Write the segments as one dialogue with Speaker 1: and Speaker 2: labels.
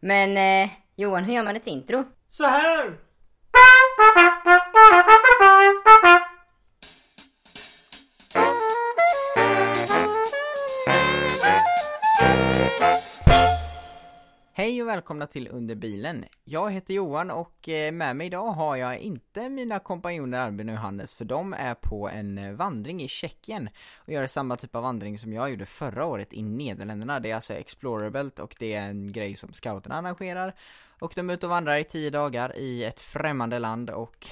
Speaker 1: Men eh, Johan, hur gör man ett intro?
Speaker 2: Så här! Hej och välkomna till Under bilen. Jag heter Johan och eh, med mig idag har jag inte mina kompanjoner Albin och Johannes för de är på en eh, vandring i Tjeckien och gör samma typ av vandring som jag gjorde förra året i Nederländerna. Det är alltså Explorerbelt och det är en grej som scouterna arrangerar och de är ute och vandrar i tio dagar i ett främmande land och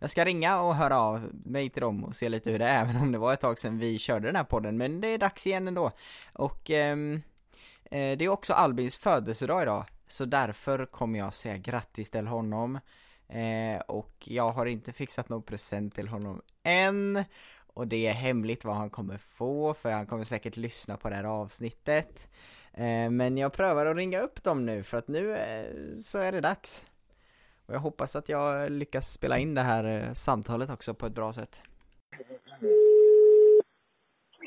Speaker 2: jag ska ringa och höra av mig till dem och se lite hur det är även om det var ett tag sedan vi körde den här podden men det är dags igen ändå och ehm, Eh, Det är också Albins födelsedag idag, så därför kommer jag säga grattis till honom. Eh, och jag har inte fixat någon present till honom än. Och det är hemligt vad han kommer få, för han kommer säkert lyssna på det här avsnittet. Eh, men jag prövar att ringa upp dem nu, för att nu eh, så är det dags. Och jag hoppas att jag lyckas spela in det här eh, samtalet också på ett bra sätt.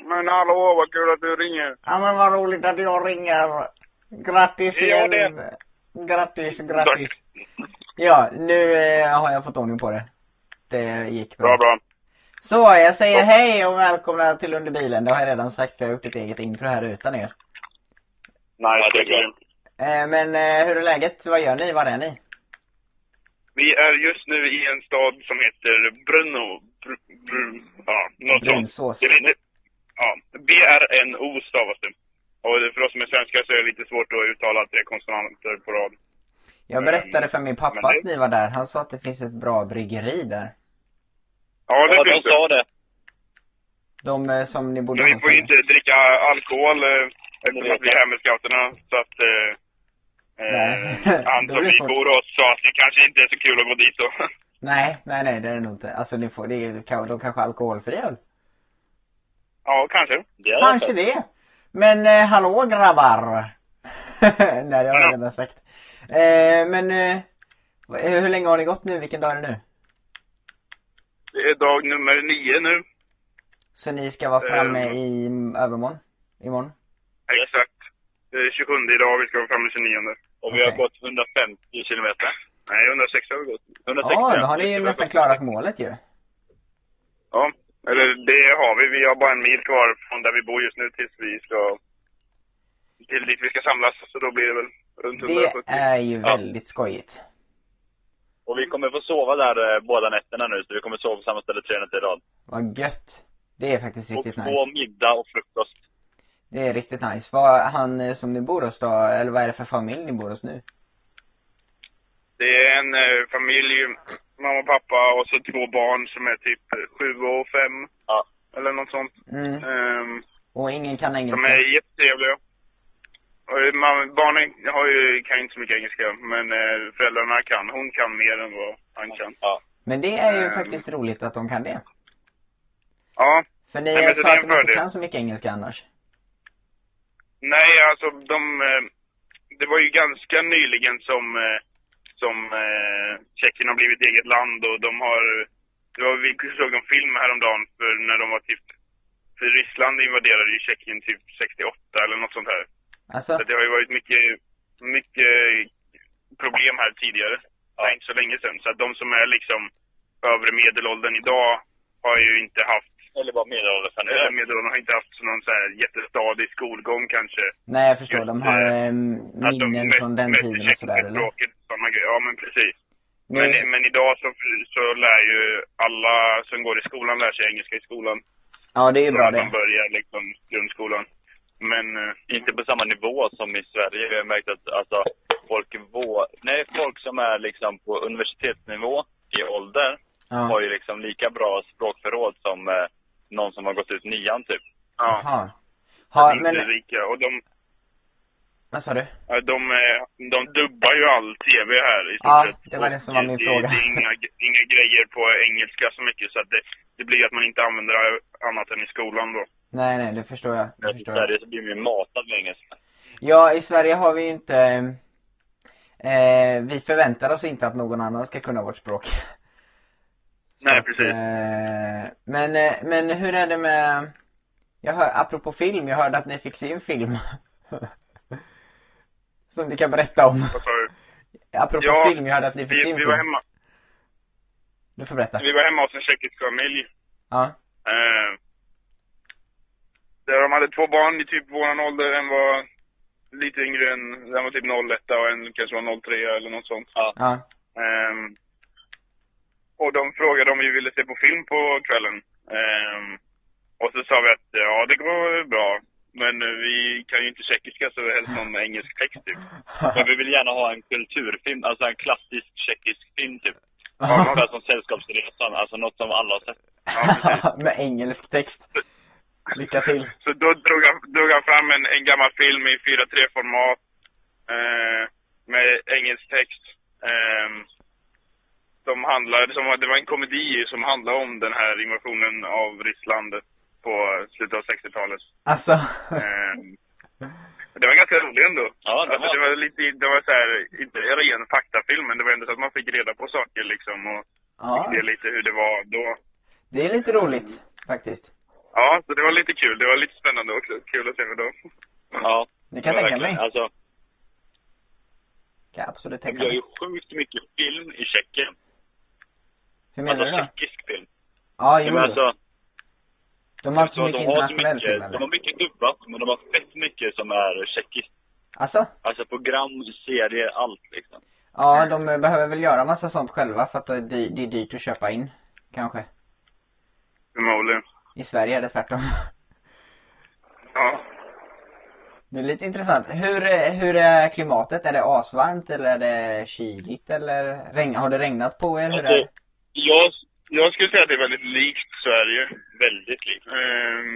Speaker 3: Men hallå, vad kul att du ringer.
Speaker 4: Ja men vad roligt att jag ringer. Grattis
Speaker 3: Ja,
Speaker 4: igen.
Speaker 3: det-
Speaker 4: Grattis, grattis. Ja, nu eh, har jag fått ordning på det.
Speaker 2: Det gick
Speaker 3: Bra, bra.
Speaker 4: Så, jag säger hej och välkomna till Under bilen. Det har jag redan sagt för jag har gjort ett eget intro här utan er.
Speaker 3: Nice, det är grymt.
Speaker 4: Eh, Men eh, hur är läget? Vad gör ni? Var är ni?
Speaker 3: Vi är just nu i en stad som heter Brunno. Br, br, ja, något
Speaker 2: Brunsås.
Speaker 3: sånt. Det är lite- Ja, B-R-N-O stavas det. Och det- för oss som är svenskar så är det lite svårt att uttala tre konsonanter på rad.
Speaker 2: Jag berättade för min pappa
Speaker 3: Eh, Men det-
Speaker 2: att ni var där. Han sa att det finns ett bra bryggeri där.
Speaker 3: Ja, det
Speaker 5: Ja, de
Speaker 3: finns det.
Speaker 5: sa det.
Speaker 2: De eh, som ni bodde
Speaker 3: Men vi
Speaker 2: hos.
Speaker 3: får ju
Speaker 2: eller?
Speaker 3: inte dricka alkohol eh, eftersom
Speaker 5: vet
Speaker 3: att vi är här med scouterna. Så att... Eh,
Speaker 2: Nej.
Speaker 3: eh, han
Speaker 2: Då
Speaker 3: som
Speaker 2: blir det
Speaker 3: vi
Speaker 2: svårt.
Speaker 3: bor hos sa att det kanske inte är så kul att gå dit då.
Speaker 2: Nej, nej, nej, det är det nog inte. Alltså ni får, det är, de kanske är alkoholfria öl.
Speaker 3: ja, kanske.
Speaker 5: det är
Speaker 2: Kanske det. Men eh, hallå grabbar! Nej, det har jag redan sagt. Eh, men eh, vad- hur länge har ni gått nu? Vilken dag är det nu?
Speaker 3: Det är dag nummer nio nu.
Speaker 2: Så ni ska vara
Speaker 3: Eh,
Speaker 2: framme i övermorgon? Imorgon?
Speaker 3: Exakt. Det är 27 idag, vi ska vara framme 29.
Speaker 5: Och vi har
Speaker 2: Okej.
Speaker 5: gått 150 kilometer.
Speaker 3: Nej, 106 har vi gått.
Speaker 5: 160.
Speaker 2: Ja, då har ni ju
Speaker 5: Det var
Speaker 2: nästan
Speaker 5: gott.
Speaker 2: klarat målet ju.
Speaker 3: Ja, eller det har vi. Vi har bara en mil kvar från där vi bor just nu tills vi ska... Till dit vi ska samlas, så då blir det väl runt
Speaker 2: Det
Speaker 3: 170.
Speaker 2: är ju
Speaker 5: Ja.
Speaker 2: väldigt skojigt.
Speaker 5: Och vi kommer få sova där eh, båda nätterna nu, så vi kommer sova på samma ställe tre nätter i rad.
Speaker 2: Vad gött. Det är faktiskt
Speaker 5: Och
Speaker 2: riktigt
Speaker 5: få
Speaker 2: nice.
Speaker 5: middag och frukost.
Speaker 2: Det är riktigt nice. Vad han eh, som ni bor hos då, eller vad är det för familj ni bor hos nu?
Speaker 3: Det är en eh, familj, mamma och pappa och så två barn som är typ 7 och 5.
Speaker 5: Ja.
Speaker 3: Eller något sånt.
Speaker 2: Mm.
Speaker 3: Ehm,
Speaker 2: Och ingen kan
Speaker 3: de
Speaker 2: engelska?
Speaker 3: är jättetrevliga. Och eh, man, barnen har ju, kan ju inte så mycket engelska, men eh, föräldrarna kan. Hon kan mer än vad han kan.
Speaker 5: Ja.
Speaker 2: Men det är ju
Speaker 3: Ehm.
Speaker 2: faktiskt roligt att de kan det.
Speaker 3: Ja,
Speaker 2: För
Speaker 3: Nej,
Speaker 2: ni
Speaker 3: men det
Speaker 2: sa
Speaker 3: är
Speaker 2: att
Speaker 3: en
Speaker 2: de inte
Speaker 3: fördel.
Speaker 2: kan så mycket engelska annars.
Speaker 3: Nej, alltså de... eh, Det var ju ganska nyligen som, eh, som eh, Tjeckien har blivit eget land och de har... Det var, vi såg en film häromdagen för när de var typ... För Ryssland invaderade ju Tjeckien typ 68 eller något sånt här.
Speaker 2: Alltså,
Speaker 3: Så det har ju varit mycket, mycket problem här tidigare. Nej, inte så länge sedan. Så att de som är liksom övre medelåldern idag har ju inte haft...
Speaker 5: Eller bara medelålders här
Speaker 3: Övre
Speaker 5: nu.
Speaker 3: medelåldern har inte haft någon så här jättestadig skolgång kanske.
Speaker 2: nej jag förstår,
Speaker 3: just,
Speaker 2: de har
Speaker 3: eh,
Speaker 2: eh,
Speaker 3: Att de
Speaker 2: minnen
Speaker 3: mest-
Speaker 2: från den
Speaker 3: mest
Speaker 2: tiden och
Speaker 3: tjeckiska
Speaker 2: sådär eller?
Speaker 3: språket, sådana grejer. Ja, men precis. Men,
Speaker 2: Nu,
Speaker 3: men idag så, så lär ju alla som går i skolan lär sig engelska i skolan.
Speaker 2: ja det är ju bra
Speaker 3: Från att de
Speaker 2: det.
Speaker 3: börjar liksom grundskolan. Men eh,
Speaker 5: Inte på samma nivå som i Sverige. Vi har märkt att alltså, folk, vå... Nej, folk som är liksom på universitetsnivå i ålder har
Speaker 2: Ja.
Speaker 5: ju liksom lika bra språkförråd som eh, någon som har gått ut nian typ.
Speaker 3: ja,
Speaker 2: Jaha.
Speaker 3: ja
Speaker 2: Ha,
Speaker 3: men...
Speaker 2: men,
Speaker 3: rika. Och de,
Speaker 2: vad sa du?
Speaker 3: ja, de, eh, de dubbar ju all tv här i stort
Speaker 2: Ja,
Speaker 3: sett.
Speaker 2: det var det som var
Speaker 3: Och
Speaker 2: min
Speaker 3: det,
Speaker 2: fråga.
Speaker 3: Det är inga, inga grejer på engelska så mycket så att det, det blir att man inte använder det annat än i skolan då.
Speaker 2: Nej, nej, det förstår jag. Det
Speaker 5: I
Speaker 2: förstår jag.
Speaker 5: Sverige så blir man ju matad med engelska.
Speaker 2: Ja, i Sverige har vi ju inte... Eh, vi förväntar oss inte att någon annan ska kunna vårt språk. Så
Speaker 3: Nej,
Speaker 2: att,
Speaker 3: precis.
Speaker 2: Eh, men, eh, men hur är det med... Jag hör, apropå film, jag hörde att ni fick se en film. Som du kan berätta om.
Speaker 3: Vad sa du?
Speaker 2: Apropå
Speaker 3: Ja,
Speaker 2: film, jag hörde att ni fick
Speaker 3: Vi,
Speaker 2: sin
Speaker 3: vi, var
Speaker 2: film.
Speaker 3: hemma,
Speaker 2: Du får berätta.
Speaker 3: vi var hemma hos en tjeckisk familj.
Speaker 2: Ja.
Speaker 3: Eh, där de hade två barn i typ våran ålder. En var lite yngre än, den var typ 01 och en kanske var 03 eller något sånt.
Speaker 2: Ja.
Speaker 3: Ehm, och de frågade om vi ville se på film på kvällen. Ehm, och så sa vi att ja, det går bra. Men eh, vi kan ju inte tjeckiska så helst någon med engelsk text typ.
Speaker 6: Men vi vill gärna ha en kulturfilm, alltså en klassisk tjeckisk film typ.
Speaker 3: Ja,
Speaker 6: Ungefär som Sällskapsresan, alltså något som alla har sett.
Speaker 3: Ja, precis.
Speaker 2: Med engelsk text. Lycka till.
Speaker 3: så då drog han, drog han fram en, en gammal film i 4.3-format. Eh, med engelsk text. ehm, som handlade, som, var- det var en komedi som handlade om den här invasionen av Ryssland på slutet av 60-talet.
Speaker 2: Alltså.
Speaker 3: Ehm, det var ganska roligt ändå.
Speaker 6: Ja, det
Speaker 3: Alltså, det
Speaker 6: var...
Speaker 3: var lite, det var så här, inte en ren faktafilm, men det var ändå så att man fick reda på saker liksom och
Speaker 2: Ja,
Speaker 3: det är lite hur det var då.
Speaker 2: det är lite roligt faktiskt.
Speaker 3: Ja, så det var lite kul. Det var lite spännande också. Kul att se då.
Speaker 6: Ja,
Speaker 2: Det kan
Speaker 6: det
Speaker 2: jag tänka
Speaker 6: var
Speaker 2: mig.
Speaker 6: verkligen- Alltså,
Speaker 2: Kan jag absolut
Speaker 6: de
Speaker 2: tänka
Speaker 6: gör
Speaker 2: mig.
Speaker 6: ju sjukt mycket film i Tjeckien.
Speaker 2: Hur menar
Speaker 6: Alltså
Speaker 2: du då?
Speaker 6: tjeckisk film.
Speaker 2: Ja,
Speaker 6: Nej,
Speaker 2: jo.
Speaker 6: men alltså,
Speaker 2: De har inte
Speaker 6: de
Speaker 2: så mycket
Speaker 6: har så
Speaker 2: internationell film
Speaker 6: mycket, de har
Speaker 2: eller?
Speaker 6: mycket dubbat, men de har fett mycket som är tjeckiskt.
Speaker 2: Alltså?
Speaker 6: Alltså program, serier, allt liksom.
Speaker 2: Ja, de eh, behöver väl göra massa sånt själva för att det det är dyrt att köpa in. Kanske.
Speaker 3: Förmodligen.
Speaker 2: I Sverige är det tvärtom.
Speaker 3: Ja.
Speaker 2: Det är lite intressant. Hur, eh, hur är klimatet? Är det asvarmt eller är det kyligt eller regn... har det regnat på er? Hur är det?
Speaker 6: Alltså,
Speaker 3: Jag, jag skulle säga att det är väldigt likt Sverige.
Speaker 6: väldigt likt.
Speaker 3: Ehm,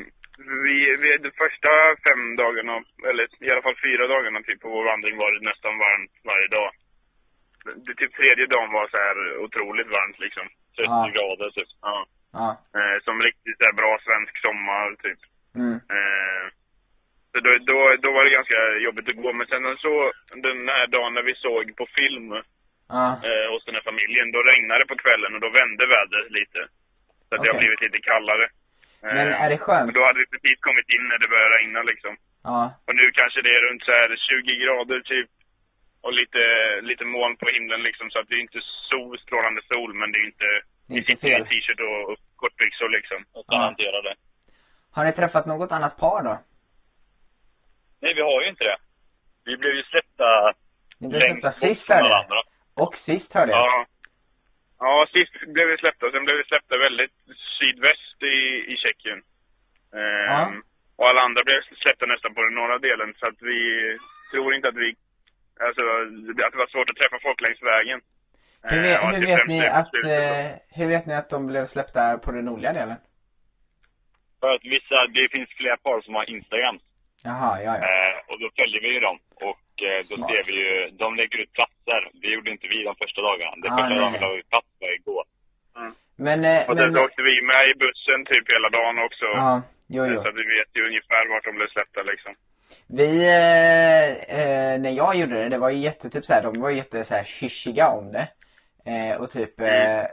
Speaker 3: vi, vi, de första fem dagarna, eller i alla fall fyra dagarna typ, på vår vandring var det nästan varmt varje dag. Det, typ tredje dagen var så här otroligt varmt liksom.
Speaker 6: 30
Speaker 2: Ja.
Speaker 6: grader typ.
Speaker 3: Ja.
Speaker 2: Ja.
Speaker 3: Eh, som riktigt så här bra svensk sommar typ.
Speaker 2: Mm.
Speaker 3: Eh, så då, då, då var det ganska jobbigt att gå. Men sen så, den här dagen när vi såg på film
Speaker 2: Ja.
Speaker 3: eh, hos den här familjen, då regnade det på kvällen och då vände vädret lite. Så att det har
Speaker 2: Okej.
Speaker 3: blivit lite kallare. Eh,
Speaker 2: Men är det
Speaker 3: och
Speaker 2: skönt?
Speaker 3: då hade vi precis kommit in när det började regna liksom.
Speaker 2: Ja.
Speaker 3: Och nu kanske det är runt så här 20 grader typ. Och lite, lite moln på himlen liksom. Så att det är inte så strålande sol, men det är inte...
Speaker 2: Det är
Speaker 3: Vi
Speaker 2: inte
Speaker 3: sitter ju i
Speaker 2: fel.
Speaker 3: t-shirt och, och kortbyxor liksom.
Speaker 6: Och så
Speaker 2: Ja.
Speaker 6: hanterar det.
Speaker 2: Har ni träffat något annat par då?
Speaker 6: Nej, vi har ju inte det. Vi blev ju släppta
Speaker 2: Ni blev
Speaker 6: längst
Speaker 2: släppta
Speaker 6: bort
Speaker 2: sist
Speaker 6: från
Speaker 2: hörde jag.
Speaker 6: varandra.
Speaker 2: Och sist hörde jag.
Speaker 3: Ja. Ja, sist blev vi släppta. Sen blev vi släppta väldigt sydväst i, i Tjeckien. Ehm,
Speaker 2: Ja.
Speaker 3: Och alla andra blev släppta nästan på den norra delen. Så att vi tror inte att vi... Alltså, att det var svårt att träffa folk längs vägen.
Speaker 2: Hur,
Speaker 3: Ehm,
Speaker 2: vet,
Speaker 3: och att
Speaker 2: hur,
Speaker 3: det
Speaker 2: vet
Speaker 3: främst
Speaker 2: ni
Speaker 3: är på
Speaker 2: att,
Speaker 3: slutet då.
Speaker 2: eh, hur vet ni att de blev släppta på den nordliga delen?
Speaker 6: För att vissa, det finns flera par som har Instagram.
Speaker 2: Jaha, ja, ja.
Speaker 6: Eh, och då följer vi ju dem. Och eh, då
Speaker 2: Smart.
Speaker 6: ser vi ju, de lägger ut platser. Det gjorde inte vi de första dagarna. Det
Speaker 2: Ah,
Speaker 6: första
Speaker 2: nej,
Speaker 6: dagen
Speaker 2: nej.
Speaker 6: la vi ut platser igår.
Speaker 3: Mm.
Speaker 2: Men, eh,
Speaker 3: Och
Speaker 2: men
Speaker 3: sen så åkte vi med i bussen typ hela dagen också.
Speaker 2: ja, jo, jo.
Speaker 3: Så att vi vet ju ungefär vart de blev släppta liksom.
Speaker 2: Vi, eh, eh, när jag gjorde det, det var ju jätte, typ så här, de var ju jätte så här kyssiga om det. Eh, och typ,
Speaker 3: Mm.
Speaker 2: eh,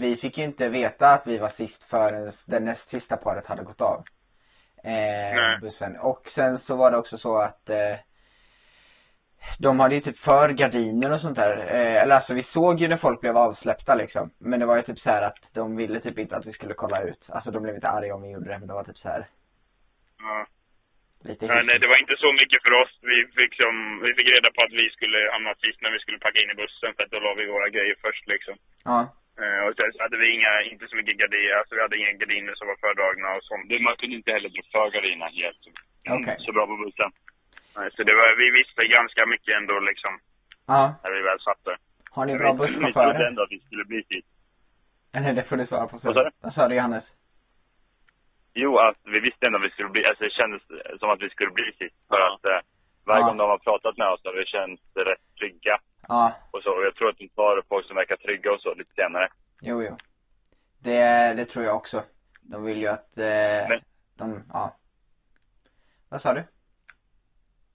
Speaker 2: vi fick ju inte veta att vi var sist förrän det näst sista paret hade gått av. Eh,
Speaker 3: Nej.
Speaker 2: bussen. Och sen så var det också så att eh, de hade ju typ för gardiner och sånt där. Eh, eller alltså vi såg ju när folk blev avsläppta liksom. Men det var ju typ så här att de ville typ inte att vi skulle kolla ut. Alltså de blev inte arga om vi gjorde det, men det var typ så här
Speaker 3: Ja.
Speaker 2: lite
Speaker 3: Nej, nej,
Speaker 2: hysch-hysch.
Speaker 3: det var inte så mycket för oss. Vi fick, som, vi fick reda på att vi skulle hamna sist när vi skulle packa in i bussen. För att då la vi våra grejer först liksom.
Speaker 2: Ja.
Speaker 3: Eh, och sen så hade vi inga, inte så mycket gardiner, alltså vi hade inga gardiner som var fördragna och sånt.
Speaker 6: Det, man kunde inte heller dra för gardinerna helt. Mm,
Speaker 2: Okej.
Speaker 6: Så bra på bussen.
Speaker 3: Nej, Så det var, vi visste ganska mycket ändå liksom,
Speaker 2: Ja.
Speaker 3: när vi väl satt där.
Speaker 2: Har ni
Speaker 6: Jag
Speaker 2: bra
Speaker 6: vet inte, Vi trodde
Speaker 2: busschaufförer?
Speaker 6: ändå att vi skulle bli sist.
Speaker 2: Eller det får du svara på
Speaker 6: Vad sa
Speaker 2: sen.
Speaker 6: du?
Speaker 2: Vad sa du Johannes?
Speaker 6: Jo, att vi visste ändå att vi skulle bli, alltså det kändes som att vi skulle bli sist. För att eh, varje
Speaker 2: Ja.
Speaker 6: gång de har pratat med oss har vi känt rätt trygga.
Speaker 2: Ja,
Speaker 6: Och så, och jag tror att de tar folk som verkar trygga och så lite senare.
Speaker 2: jo jo. Det, det tror jag också. De vill ju att eh, de, ja. Vad sa du?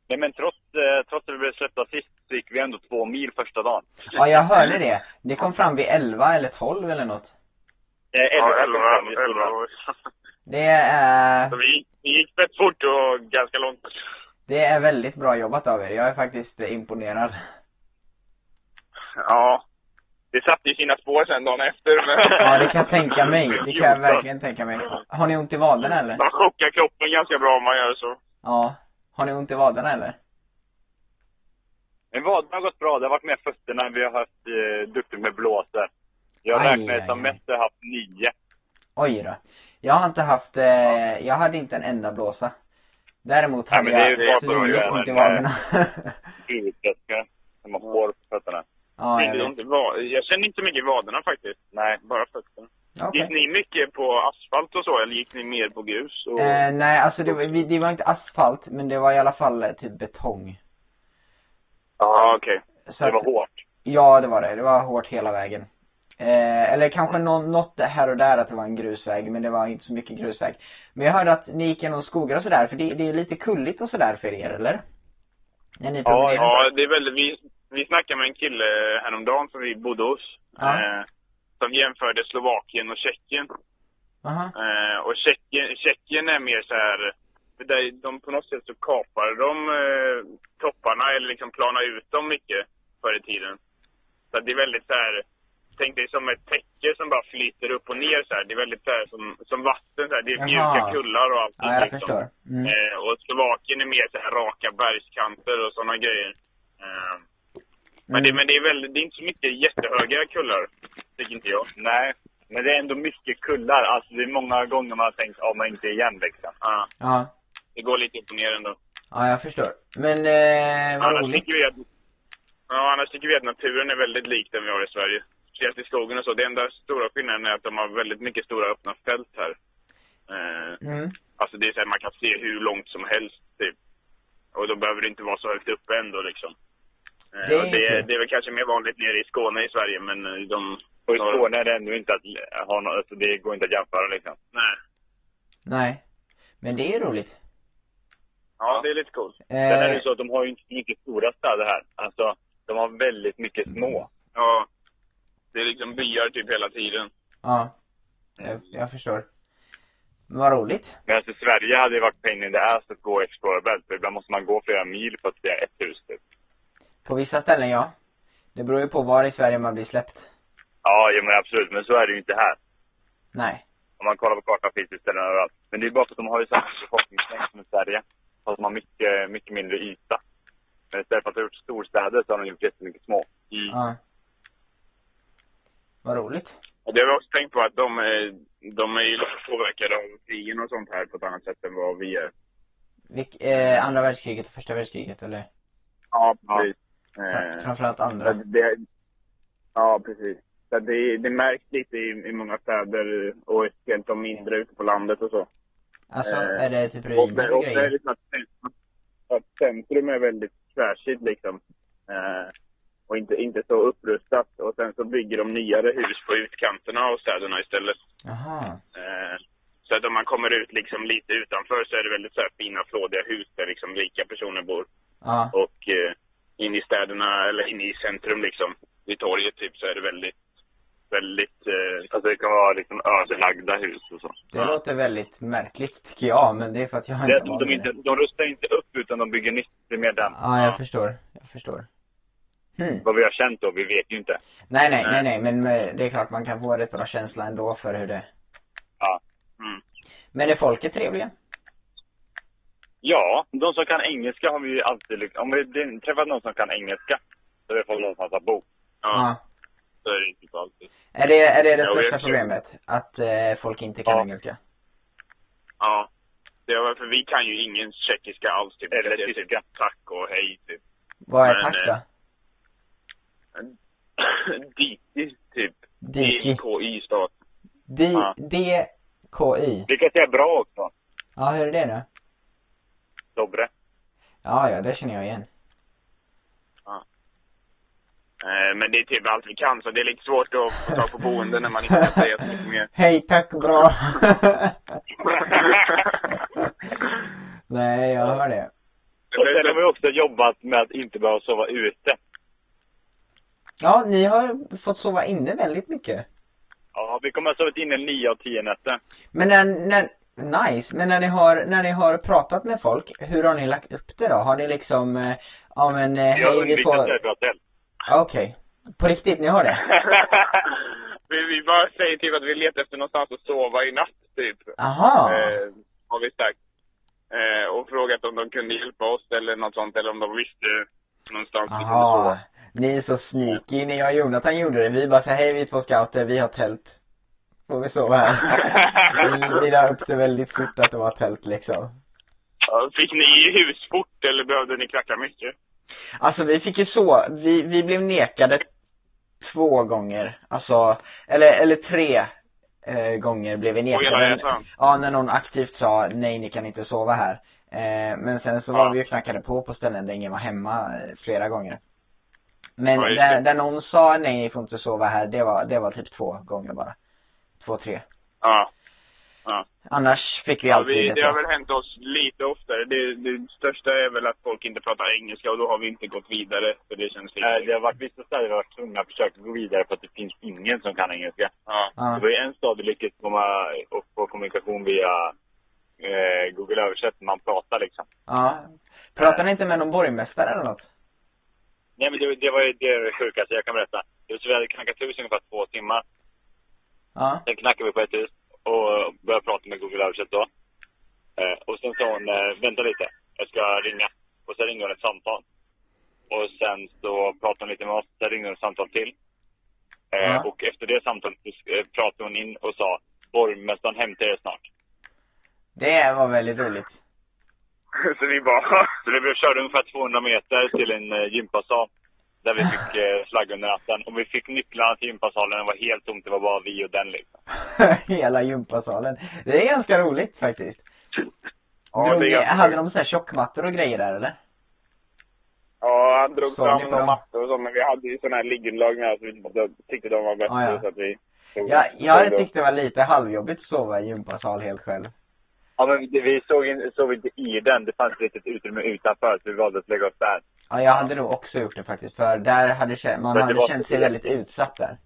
Speaker 6: Nej men trots, eh, trots att vi blev släppta sist så gick vi ändå två mil första dagen.
Speaker 2: Ja, jag hörde det. Det kom fram vid 11 eller 12 eller något.
Speaker 6: Eh, elva
Speaker 3: Ja,
Speaker 6: kom fram i
Speaker 3: elva, elva
Speaker 6: skolan.
Speaker 3: år.
Speaker 2: Det är,
Speaker 3: Så vi, vi gick rätt fort och ganska långt.
Speaker 2: Det är väldigt bra jobbat av er. Jag är faktiskt eh, imponerad.
Speaker 3: Ja. Det satte ju sina spår sen dagen efter. Men...
Speaker 2: Ja, det kan jag tänka mig. Det kan jag verkligen tänka mig. Har ni ont i vaderna eller?
Speaker 3: Man chockar kroppen ganska bra om man gör så.
Speaker 2: Ja. Har ni ont i vaderna eller?
Speaker 6: Men vaderna har gått bra. Det har varit med fötterna. Vi har haft eh, duktigt med blåsor. Jag
Speaker 2: Aj,
Speaker 6: räknar
Speaker 2: aj,
Speaker 6: som
Speaker 2: aj.
Speaker 6: mest har jag haft nio.
Speaker 2: Oj då. Jag har inte haft, eh, jag hade inte en enda blåsa. Däremot
Speaker 6: Nej,
Speaker 2: hade
Speaker 6: men det är ju
Speaker 2: jag
Speaker 6: bra för
Speaker 2: svinigt
Speaker 6: att göra
Speaker 2: ont i
Speaker 6: det.
Speaker 2: vaderna.
Speaker 6: Huvudtrösklar. Som har hår på fötterna.
Speaker 2: ja, jag
Speaker 3: jag,
Speaker 2: vet.
Speaker 3: inte, vad- jag känner inte mycket i vaderna faktiskt.
Speaker 6: Nej.
Speaker 3: Bara fötterna.
Speaker 2: Okej.
Speaker 3: Gick ni mycket på asfalt och så eller gick ni mer på grus? Och...
Speaker 2: Eh, nej, alltså det, var- vi- det var inte asfalt, men det var i alla fall eh, typ betong.
Speaker 3: Ja, okej.
Speaker 2: Så
Speaker 6: Det
Speaker 2: att,
Speaker 6: var hårt.
Speaker 2: ja, det var det. Det var hårt hela vägen. Eh, eller kanske nå- något här och där att det var en grusväg, men det var inte så mycket grusväg. Men jag hörde att ni gick genom skogar och sådär, för det, det är lite kulligt och sådär för er, eller? När ni promenerar?
Speaker 3: Ja, det är väldigt... Vi, vi snackade med en kille häromdagen som vi bodde hos.
Speaker 2: Ja.
Speaker 3: Eh, som jämförde Slovakien och Tjeckien.
Speaker 2: Aha.
Speaker 3: Eh, och Tjeckien, Tjeckien är mer så här... Det där, de på något sätt så kapar de eh, topparna eller liksom planar ut dem mycket förr i tiden. Så att det är väldigt så här... Tänk dig som ett täcke som bara flyter upp och ner så här. Det är väldigt så här som, som vatten så här. Det är
Speaker 2: Jaha.
Speaker 3: mjuka kullar och allting.
Speaker 2: ja, jag
Speaker 3: liksom.
Speaker 2: förstår. Mm.
Speaker 3: Eh, och Slovakien är mer så här raka bergskanter och sådana grejer. Eh, men,
Speaker 2: Mm.
Speaker 3: det, men det är väl, det är inte så mycket jättehöga kullar, tycker inte jag.
Speaker 6: Nej. Men det är ändå mycket kullar. Alltså det är många gånger man har tänkt, ja men inte igen liksom.
Speaker 3: Ja,
Speaker 2: Ja.
Speaker 3: det går lite upp och ner ändå.
Speaker 2: Ja, jag förstår. Men eh, vad
Speaker 3: Annars
Speaker 2: roligt.
Speaker 3: tycker, vi att, ja, annars tycker vi att naturen är väldigt lik den vi har i Sverige. Speciellt i skogen och så. Det enda stora skillnaden är att de har väldigt mycket stora öppna fält här. Eh,
Speaker 2: Mm.
Speaker 3: alltså det är så här, man kan se hur långt som helst typ. Och då behöver det inte vara så högt uppe ändå liksom. Eh,
Speaker 2: Det är
Speaker 3: och det,
Speaker 2: kul.
Speaker 3: är, det är väl kanske mer vanligt nere i Skåne i Sverige men eh, de...
Speaker 6: Och i Skåne är det ändå inte att ha något, alltså det går inte att jämföra liksom.
Speaker 3: Nej.
Speaker 2: Nej. Men det är roligt.
Speaker 3: Ja, det är lite coolt.
Speaker 6: Sen är det
Speaker 2: Eh,
Speaker 6: ju så att de har ju inte så mycket stora städer här. Alltså, de har väldigt mycket små.
Speaker 3: Ja. Det är liksom byar typ hela tiden.
Speaker 2: ja, jag, jag förstår. Men vad roligt.
Speaker 6: Men alltså Sverige hade ju varit pain in the ass att gå Explorer Belt, för ibland måste man gå flera mil för att se ett hus typ.
Speaker 2: På vissa ställen, ja. Det beror ju på var i Sverige man blir släppt.
Speaker 6: Ja, ja men absolut, men så är det ju inte här.
Speaker 2: Nej.
Speaker 6: Om man kollar på kartan finns det ställen överallt. Men det är bara för att de har ju samma befolkningsmängd som i Sverige. Fast de har mycket, mycket mindre yta. Men istället för att ha gjort storstäder så har de gjort jättemycket små.
Speaker 3: Mm.
Speaker 2: Ja. Vad roligt.
Speaker 3: Och det har vi också tänkt på att de, är- de är ju lite påverkade av krigen och sånt här på ett annat sätt än vad vi är.
Speaker 2: Vilk, eh, andra världskriget och första världskriget, eller
Speaker 3: Ja,
Speaker 6: precis.
Speaker 2: fra-
Speaker 3: Eh,
Speaker 2: framförallt
Speaker 3: så
Speaker 2: andra.
Speaker 3: att det, ja, precis. Så att det, det märks lite i, i många städer och helt de mindre ute på landet och så.
Speaker 2: Alltså,
Speaker 3: eh,
Speaker 2: är det typ
Speaker 3: Och
Speaker 2: ruiner
Speaker 3: det,
Speaker 2: och
Speaker 3: och det är
Speaker 2: grejer?
Speaker 3: liksom att, centrum- att centrum är väldigt tvärsitt liksom. Eh, och inte, inte så upprustat. Och sen så bygger de nyare hus på utkanterna av städerna istället.
Speaker 2: Jaha.
Speaker 3: Eh, så att om man kommer ut liksom lite utanför så är det väldigt så här fina flådiga hus där liksom rika personer bor.
Speaker 2: Ja.
Speaker 3: Och eh, in i städerna, eller in i centrum liksom, vid torget typ, så är det väldigt, väldigt... Eh,
Speaker 6: Alltså det kan vara liksom ödelagda hus och så.
Speaker 2: Det låter väldigt märkligt, tycker jag, men det är för att jag
Speaker 6: Det
Speaker 2: inte
Speaker 6: är att de,
Speaker 2: van vid
Speaker 6: inte, de rustar inte upp utan de bygger nytt. Det är mer den.
Speaker 2: Ja, jag förstår. Jag förstår. Hmm.
Speaker 6: Vad vi har känt då, vi vet ju inte.
Speaker 2: Nej, nej, nej, nej, men eh, det är klart man kan få rätt bra känsla ändå för hur det...
Speaker 6: Ja.
Speaker 3: Mm.
Speaker 2: Men är folket trevliga?
Speaker 6: Ja, de som kan engelska har vi ju alltid lyckats... Om vi det- träffat någon som kan engelska så har vi fått någonstans att bo.
Speaker 3: ja, så är det
Speaker 6: typ
Speaker 3: inte alltid.
Speaker 2: Är det är det, det
Speaker 3: Ja, och
Speaker 2: största
Speaker 3: jag-
Speaker 2: problemet? Att eh, folk inte kan
Speaker 6: Ja.
Speaker 2: engelska?
Speaker 3: Ja. Det är väl för vi kan ju ingen tjeckiska alls typ.
Speaker 6: Eller
Speaker 3: Det är typ
Speaker 6: tyska.
Speaker 3: Tack och hej typ.
Speaker 2: Vad är
Speaker 3: Men,
Speaker 2: tack
Speaker 3: eh,
Speaker 2: då?
Speaker 3: Diki typ.
Speaker 2: Diki.
Speaker 3: DKI stat.
Speaker 2: D-
Speaker 6: ja.
Speaker 2: DKY.
Speaker 6: Vi kan säga bra också.
Speaker 2: Ja, hur är det nu?
Speaker 6: Dobre.
Speaker 2: Ja, ja, det känner jag igen.
Speaker 3: Eh, men det är typ allt vi kan så det är lite svårt att få tag på boende när man inte kan säga så mycket mer.
Speaker 2: Hej, tack, bra! nej, jag hör det.
Speaker 6: Och sen har vi också jobbat med att inte behöva sova ute.
Speaker 2: Ja, ni har fått sova inne väldigt mycket.
Speaker 6: Ja, vi kommer att ha sovit inne nio av tio nätter.
Speaker 2: Men när, när, Nice, men när ni, har, när ni har pratat med folk, hur har ni lagt upp det då? Har ni liksom, eh, ja men eh,
Speaker 6: Vi har
Speaker 2: hej vi
Speaker 6: undvikit att
Speaker 2: får...
Speaker 6: säga bra tält.
Speaker 2: Ja, Okej. På riktigt, ni har det?
Speaker 3: vi, vi bara säger typ att vi letar efter någonstans att sova i natt, typ.
Speaker 2: Aha.
Speaker 3: Eh, har vi sagt. Eh, och frågat om de kunde hjälpa oss eller något sånt, eller om de visste någonstans vi kunde
Speaker 2: Aha.
Speaker 3: sova.
Speaker 2: Ni är så sneaky, ni och Jonathan gjorde det. Vi bara så här, hej vi är två scouter, vi har tält. Får vi sova här? Ni, ni la upp det väldigt fort att det var tält liksom.
Speaker 3: Ja, Fick ni husfort eller behövde ni knacka mycket?
Speaker 2: Alltså vi fick ju så, vi, vi blev nekade två gånger, alltså, eller, eller tre eh, gånger blev vi
Speaker 3: Och hela
Speaker 2: nekade.
Speaker 3: resan?
Speaker 2: Ja, när någon aktivt sa nej, ni kan inte sova här. Eh, men sen så var
Speaker 3: Ja.
Speaker 2: vi ju knackade på på ställen där ingen var hemma eh, flera gånger. Men
Speaker 3: Ja, just
Speaker 2: där,
Speaker 3: det.
Speaker 2: där någon sa nej, ni får inte sova här, det var, det var typ två gånger bara. Två, tre.
Speaker 3: Ja.
Speaker 2: Annars fick vi
Speaker 3: ja
Speaker 2: alltid
Speaker 3: vi,
Speaker 2: det
Speaker 3: det
Speaker 2: så.
Speaker 3: har väl hänt oss lite oftare. Det, det största är väl att folk inte pratar engelska och då har vi inte gått vidare. För det känns lite...
Speaker 6: Eh, Det har varit vissa städer vi har varit tvungna att försöka gå vidare för att det finns ingen som kan engelska.
Speaker 3: Ja.
Speaker 6: Det
Speaker 2: Ja.
Speaker 6: var ju en stad vi lyckades komma och få kommunikation via eh, Google översätt när man pratar liksom.
Speaker 2: ja. Pratade ni inte med någon borgmästare eller något?
Speaker 6: Nej men det, det var ju det sjukaste jag kan berätta. Det var så vi hade knackat hus i ungefär två timmar.
Speaker 2: Ja.
Speaker 6: Sen knackade vi på ett hus och började prata med Google översätt då. Eh, och sen sa hon, eh, vänta lite, jag ska ringa. Och sen ringde hon ett samtal. Och sen så pratade hon lite med oss, sen ringde hon ett samtal till. Eh,
Speaker 2: Ja.
Speaker 6: Och efter det samtalet så, eh, pratade hon in och sa, borgmästaren hämtar er snart.
Speaker 2: Det var väldigt roligt.
Speaker 3: Så vi bara...
Speaker 6: Så vi blev körda ungefär 200 meter till en eh, gympasal. Där vi fick eh, flagg under natten. Och vi fick nycklarna till gympasalen. Det var helt tomt. Det var bara vi och den liksom.
Speaker 2: Hela gympasalen. Det är ganska roligt faktiskt.
Speaker 3: Ja, det är
Speaker 2: Drog, ni-
Speaker 3: ganska
Speaker 2: hade
Speaker 3: kul.
Speaker 2: de så här tjockmattor och grejer där eller?
Speaker 3: Ja, han drog
Speaker 2: Såg ni
Speaker 3: fram
Speaker 2: på
Speaker 3: några
Speaker 2: dem?
Speaker 3: mattor och så, men vi hade ju sådana här liggunderlag med oss. Vi tyckte de var bättre,
Speaker 2: Ah, ja.
Speaker 3: så att vi...
Speaker 2: Jag, jag hade tyckt det var lite halvjobbigt att sova i gympasal helt själv.
Speaker 6: Ja, men det- vi såg, in, såg inte i den. Det fanns ett litet utrymme utanför. Så vi valde att lägga oss där.
Speaker 2: Ja, jag hade nog också gjort det faktiskt. För där hade kä- man
Speaker 6: Men det
Speaker 2: hade
Speaker 6: var-
Speaker 2: känt sig väldigt utsatt där.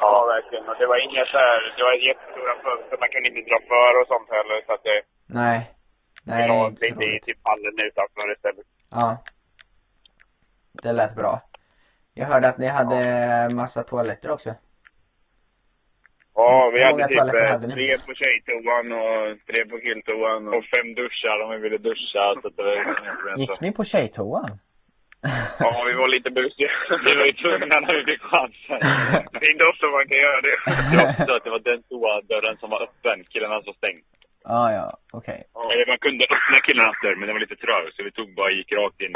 Speaker 3: Ja, verkligen. Och det var inga så här... Det var jättestora fönster, man kunde inte dra för och sånt heller. Så att det
Speaker 2: Nej. Nej, det är
Speaker 3: var
Speaker 2: inte så
Speaker 3: lite i
Speaker 2: roligt.
Speaker 3: typ hallen utanför istället.
Speaker 2: Ja. Det lät bra. Jag hörde att ni hade massa toaletter också.
Speaker 6: Mm.
Speaker 3: Ja, vi
Speaker 2: Hur många
Speaker 3: hade typ
Speaker 2: toaletter
Speaker 3: eh,
Speaker 2: hade ni?
Speaker 3: tre på tjejtoan och tre på killtoan. Och...
Speaker 6: Och fem duschar om vi ville duscha. Så att det var inga problem.
Speaker 2: Gick ni på tjejtoan?
Speaker 3: Ja, vi var lite busiga.
Speaker 6: Vi var ju tvungna när vi fick chansen.
Speaker 3: det är inte ofta man kan göra det.
Speaker 6: Det var också så att det var den toadörren som var öppen. Killarna som stängt.
Speaker 2: Ja, ja, okej.
Speaker 6: Eller man kunde öppna killarnas dörr, men den var lite trög. Så vi tog bara gick rakt in.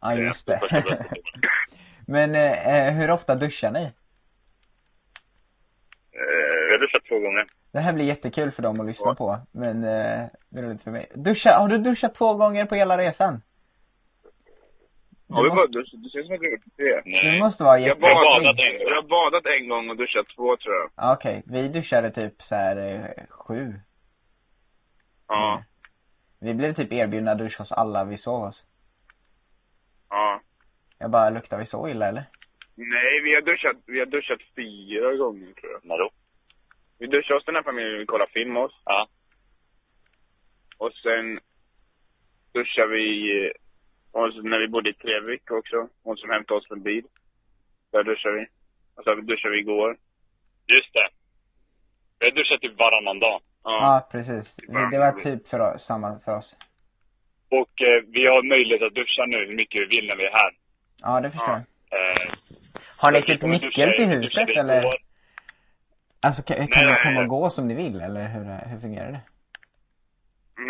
Speaker 2: Ja, just
Speaker 6: eh, på första
Speaker 2: det.
Speaker 6: bröstet.
Speaker 2: Men eh, hur ofta duschar ni?
Speaker 6: Eh, Vi hade duschat två gånger.
Speaker 2: Det här blir jättekul för dem att lyssna på, men eh, det är roligt för mig. Duscha, har du duschat två gånger på hela resan? Du,
Speaker 3: Ja, vi
Speaker 2: måste,
Speaker 3: var, det, det känns som att vi gjort det.
Speaker 6: Nej.
Speaker 2: du måste vara
Speaker 3: Jag
Speaker 6: har badat
Speaker 2: jätteäcklig.
Speaker 6: en gång.
Speaker 3: Jag har badat en gång och duschat två, tror jag.
Speaker 2: Ja, Okej, vi duschade typ så här eh, sju.
Speaker 6: Mm.
Speaker 3: Ja.
Speaker 2: Vi blev typ erbjudna dusch hos alla vi sov hos.
Speaker 3: ja.
Speaker 2: Jag bara, luktar vi så illa eller?
Speaker 3: Nej, vi har, duschat, vi har duschat fyra gånger, tror jag.
Speaker 6: När då?
Speaker 3: Vi duschade oss den här familjen, vi kollade film oss.
Speaker 6: Ja.
Speaker 3: Och sen duschade vi, eh, och så när vi bodde i Trevik också, hon som hämtade oss med bil. Där duschade vi. Och så duschade vi igår.
Speaker 6: Just det. Vi har duschat typ varannan dag.
Speaker 3: Ja.
Speaker 2: Ja, precis. Vi, det var typ för oss, samma för oss.
Speaker 6: Och eh, vi har möjlighet att duscha nu hur mycket vi vill när vi är här.
Speaker 2: Ja, det förstår
Speaker 3: Ja.
Speaker 2: jag.
Speaker 6: Eh,
Speaker 2: Har ni
Speaker 6: så vi
Speaker 2: typ
Speaker 6: kommer
Speaker 2: nyckel
Speaker 6: duscha-
Speaker 2: till
Speaker 6: duscha
Speaker 2: huset
Speaker 6: i
Speaker 2: eller?
Speaker 6: år.
Speaker 2: Alltså kan, kan
Speaker 6: Nej,
Speaker 2: ni
Speaker 6: nej,
Speaker 2: komma
Speaker 6: nej.
Speaker 2: och gå som ni vill eller hur, hur fungerar det?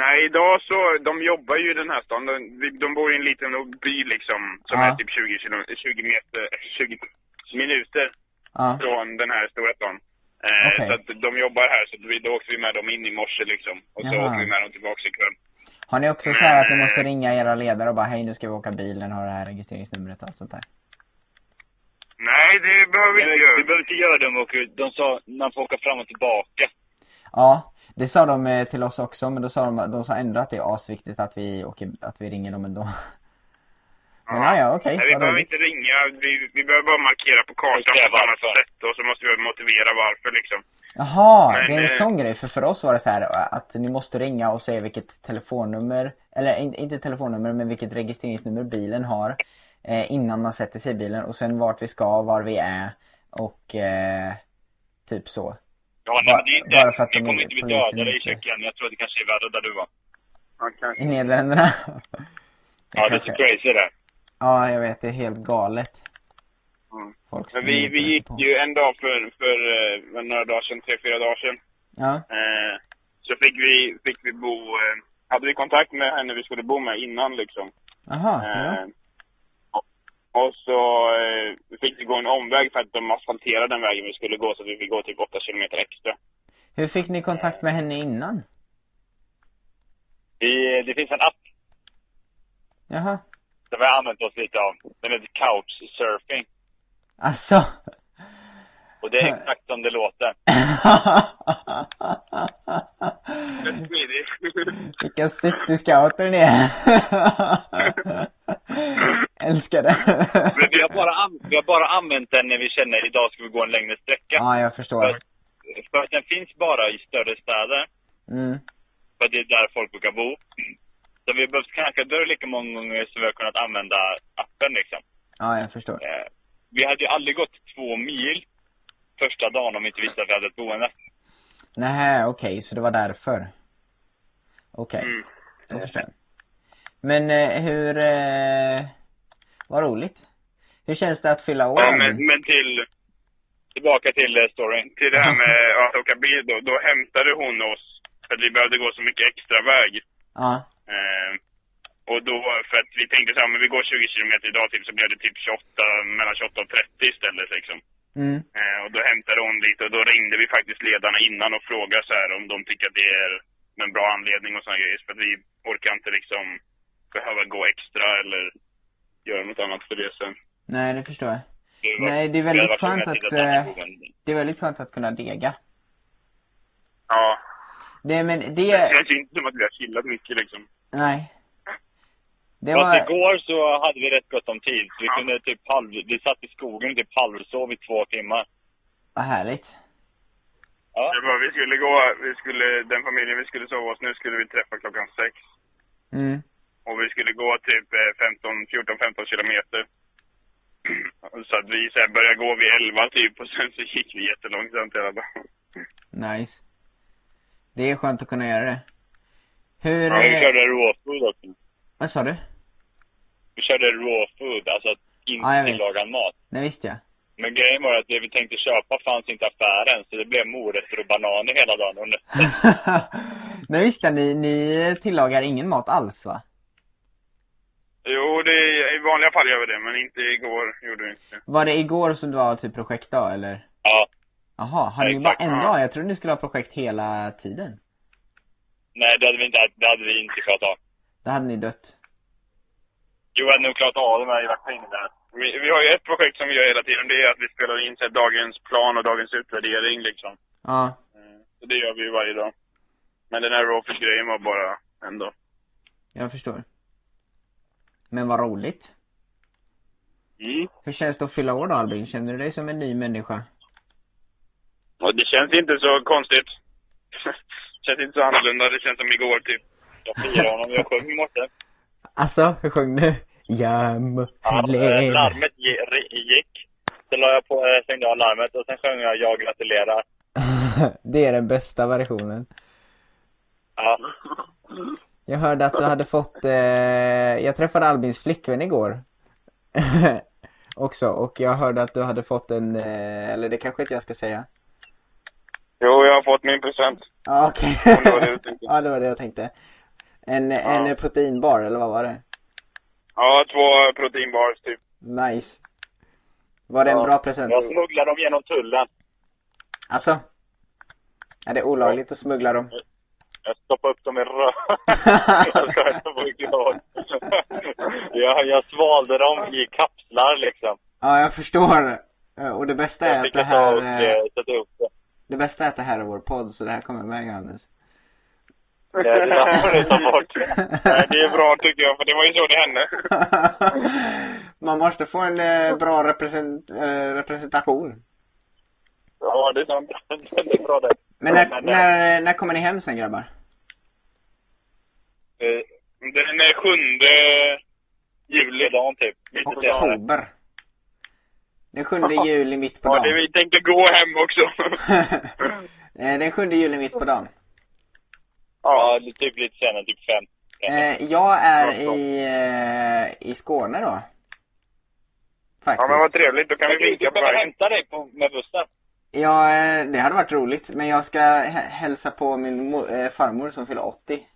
Speaker 3: Nej, idag så, de jobbar ju i den här stan. De, vi- de bor i en liten by liksom, som
Speaker 2: Ja.
Speaker 3: är typ 20, kilo, 20 meter, 20 minuter
Speaker 2: Ja,
Speaker 3: från den här stora stan. Eh,
Speaker 2: Okej.
Speaker 3: Så att de jobbar här, så att vi, då åkte vi med dem in i morse liksom. Och så
Speaker 2: Jaha.
Speaker 3: åker vi med dem tillbaka ikväll.
Speaker 2: Har ni också så här att ni måste ringa era ledare och bara hej nu ska vi åka bilen, har det här registreringsnumret och allt sånt där?
Speaker 3: Nej, det behöver vi
Speaker 6: Men
Speaker 3: inte
Speaker 6: vi- Vi
Speaker 3: göra.
Speaker 6: behöver inte göra det om vi åker ut. De sa när man får åka fram och tillbaka.
Speaker 2: Ja, det sa de eh, till oss också men då sa de, de sa ändå att det är asviktigt att vi, åker, att vi ringer dem ändå. Men ja, ja okej.
Speaker 3: Nej, vi
Speaker 2: vad
Speaker 3: behöver
Speaker 2: roligt.
Speaker 3: inte ringa, vi, vi behöver bara markera på kartan
Speaker 6: Okej,
Speaker 3: på ett annat
Speaker 6: varför?
Speaker 3: sätt och så måste vi motivera varför liksom.
Speaker 2: Jaha,
Speaker 3: Men,
Speaker 2: det är en
Speaker 3: eh,
Speaker 2: sån grej. För för oss var det så här eh, att ni måste ringa och säga vilket telefonnummer, eller in, inte telefonnummer, men vilket registreringsnummer bilen har eh, innan man sätter sig i bilen och sen vart vi ska, var vi är och eh, typ så.
Speaker 6: Ja, nej,
Speaker 2: Ba-
Speaker 6: men det är inte,
Speaker 2: bara för att
Speaker 6: vi
Speaker 2: de-
Speaker 6: kommer inte bli
Speaker 2: polisen
Speaker 6: dödade i
Speaker 2: inte-
Speaker 6: Tjeckien. Jag tror att det kanske är värre där du var.
Speaker 3: Ja, kanske.
Speaker 2: I Nederländerna.
Speaker 6: Ja, det är
Speaker 2: Kanske.
Speaker 6: så crazy det.
Speaker 2: ja, jag vet. Det är helt galet.
Speaker 3: Mm.
Speaker 2: Folk
Speaker 3: Men
Speaker 2: springer
Speaker 3: vi,
Speaker 2: inte
Speaker 3: vi
Speaker 2: runt
Speaker 3: gick
Speaker 2: på.
Speaker 3: ju en dag för, för eh, några dagar sedan, tre, fyra dagar sedan.
Speaker 2: Ja,
Speaker 3: Eh, så fick vi, fick vi bo, eh, hade vi kontakt med henne vi skulle bo med innan liksom.
Speaker 2: jaha. hur då?
Speaker 3: Eh, och- och så eh, fick vi gå en omväg för att de asfalterade den vägen vi skulle gå så vi fick gå typ 8 kilometer extra.
Speaker 2: Hur fick ni kontakt med henne innan?
Speaker 6: Vi, det finns en app
Speaker 2: Jaha.
Speaker 6: som vi har använt oss lite av. Den heter Couchsurfing.
Speaker 2: Alltså.
Speaker 6: Och det är exakt som det låter.
Speaker 2: Vilka cityscouter ni är. Älskar det.
Speaker 6: Men vi, har bara an- vi har bara använt den när vi känner idag ska vi gå en längre sträcka.
Speaker 2: Ja, jag förstår.
Speaker 6: För att den finns bara i större städer.
Speaker 2: Mm.
Speaker 6: För att det är där folk brukar bo. Så vi har behövt knacka dörr lika många gånger som vi har kunnat använda appen liksom.
Speaker 2: Ja, jag förstår.
Speaker 6: Eh, vi hade ju aldrig gått två mil första dagen om vi inte visste att vi hade ett boende.
Speaker 2: Nej, okej, så det var därför. Okej,
Speaker 3: Mm.
Speaker 2: då förstår jag. Men eh, hur... Eh, vad roligt. Hur känns det att fylla år?
Speaker 3: Ja,
Speaker 2: Albin?
Speaker 3: men, men till,
Speaker 6: Tillbaka till eh, storyn.
Speaker 3: till det här med att åka bil då, då hämtade hon oss för att vi behövde gå så mycket extra väg.
Speaker 2: Ja,
Speaker 3: Eh, och då, för att vi tänkte så här, men vi går 20 kilometer idag typ, så blev det typ 28, mellan 28 och 30 istället liksom.
Speaker 2: mm,
Speaker 3: Eh, och då hämtade hon lite och då ringde vi faktiskt ledarna innan och frågade så här om de tycker att det är en bra anledning och såna grejer. För att vi orkar inte liksom behöva gå extra eller göra något annat för det sen.
Speaker 2: nej det förstår jag.
Speaker 6: Det var-
Speaker 2: Nej, det är
Speaker 6: vi hade
Speaker 2: väldigt
Speaker 6: varit
Speaker 2: skönt
Speaker 6: tvungna
Speaker 2: att,
Speaker 6: hitta ett annat
Speaker 2: eh,
Speaker 6: boende.
Speaker 2: Det är väldigt skönt att kunna dega.
Speaker 3: Ja,
Speaker 2: Det, men
Speaker 3: det
Speaker 2: det...
Speaker 3: känns ju inte som att vi har chillat mycket liksom.
Speaker 2: Nej. Det
Speaker 6: Fast
Speaker 2: var...
Speaker 6: igår så hade vi rätt gott om tid. Vi
Speaker 3: Ja.
Speaker 6: kunde typ halv... Vi satt i skogen och typ halvsov i två timmar.
Speaker 2: Vad härligt.
Speaker 3: Det var, vi skulle gå, vi skulle, den familjen vi skulle sova hos nu skulle vi träffa klockan sex.
Speaker 2: Mm.
Speaker 3: Och vi skulle gå typ eh, 15, 14-15 kilometer. Så att vi så här började gå vid 11 typ och sen så gick vi jättelångsamt hela dagen.
Speaker 2: Nice. Det är skönt att kunna göra det. Hur...
Speaker 6: Ja, vi
Speaker 2: eh,
Speaker 6: körde raw food också.
Speaker 2: vad sa du?
Speaker 6: Vi körde raw food, alltså inte
Speaker 2: Ja, jag vet.
Speaker 6: tillagad mat.
Speaker 2: Nej, visst ja.
Speaker 6: Men grejen var att det vi tänkte köpa fanns inte i affären, så det blev morötter och bananer hela dagen. Och nötter.
Speaker 2: Nej, visst ja. Ni, ni tillagar ingen mat alls, va?
Speaker 3: Jo, det, i vanliga fall gör vi det, men inte igår gjorde vi inte det.
Speaker 2: Var det igår som det var typ projektdag, eller?
Speaker 6: Ja,
Speaker 2: Jaha, hade ni bara
Speaker 6: Exakt,
Speaker 2: en
Speaker 3: ja.
Speaker 2: dag? Jag trodde ni skulle ha projekt hela tiden.
Speaker 6: nej det hade vi inte, det hade vi inte klarat av.
Speaker 2: Då hade ni dött.
Speaker 6: Jo, jag hade nog klarat av det, men jag hade varit på inne där.
Speaker 3: Vi, vi har ju ett projekt som vi gör hela tiden, det är att vi spelar in så här, dagens plan och dagens utvärdering liksom.
Speaker 2: Ja,
Speaker 3: Så det gör vi ju varje dag. Men den här rawfish-grejen var bara en dag.
Speaker 2: jag förstår. Men vad roligt.
Speaker 3: Mm.
Speaker 2: Hur känns det att fylla år då, Albin? Känner du dig som en ny människa?
Speaker 3: Och det känns inte så konstigt. känns inte så annorlunda, det känns som igår typ.
Speaker 6: Jag firade honom, jag sjöng i morse.
Speaker 2: Alltså, hur sjöng du? Göm,
Speaker 6: Ja, eh,
Speaker 2: lev.
Speaker 6: larmet gi- ri- gick. Så la jag på, eh, stängde av larmet och sen sjöng jag Jag gratulerar.
Speaker 2: Det är den bästa versionen.
Speaker 6: Ja.
Speaker 2: Jag hörde att du hade fått, eh, jag träffade Albins flickvän igår. Också, och jag hörde att du hade fått en, eh, eller det kanske inte jag ska säga.
Speaker 3: Jo, jag har fått min present.
Speaker 2: Ja, okej.
Speaker 3: det var det du tänkte.
Speaker 2: ja, det var det jag tänkte. En, en proteinbar, eller vad var det?
Speaker 3: Ja, två proteinbars typ.
Speaker 2: Nice. Var det en
Speaker 6: Ja,
Speaker 2: bra present?
Speaker 6: Jag smugglade dem genom tullen.
Speaker 2: Alltså, är det olagligt att smuggla dem?
Speaker 6: Jag stoppade upp dem i röven. Jag ska inte vara glad. jag, jag svalde dem i kapslar liksom.
Speaker 2: Ja, jag förstår. Eh, Och det bästa är
Speaker 6: Jag
Speaker 2: att
Speaker 6: fick
Speaker 2: det
Speaker 6: ta
Speaker 2: här,
Speaker 6: och
Speaker 2: eh,
Speaker 6: eh, sätta upp det.
Speaker 2: det bästa är att det här är vår podd, så det här kommer med Johannes.
Speaker 6: Det, det där får ni ta bort.
Speaker 3: Nej, det är bra tycker jag, för det var ju så det hände.
Speaker 2: Man måste få en eh, bra represent- eh, representation.
Speaker 6: Ja, det är sant. Det är bra det.
Speaker 2: Men när, när, när kommer ni hem sen grabbar?
Speaker 6: Eh,
Speaker 3: Den är sjunde juli.
Speaker 6: Juldagen typ. Lite senare.
Speaker 2: Oktober. Den 7 juli mitt på
Speaker 3: Ja,
Speaker 2: dagen.
Speaker 3: det, vi tänkte gå hem också.
Speaker 2: Eh, Den 7 juli mitt på dagen.
Speaker 6: Ja, li- typ lite senare. Typ fem. kanske.
Speaker 2: Eh, Jag är i, eh, i Skåne då.
Speaker 3: Ja, men vad
Speaker 2: Faktiskt.
Speaker 3: trevligt. Då kan vi
Speaker 6: Jag kan
Speaker 3: vinka
Speaker 6: inte
Speaker 3: på
Speaker 6: behöva
Speaker 3: vägen.
Speaker 6: hämta dig på, med bussen.
Speaker 2: Ja, eh, det hade varit roligt. Men jag ska hä- hälsa på min mo- eh, farmor som fyller 80.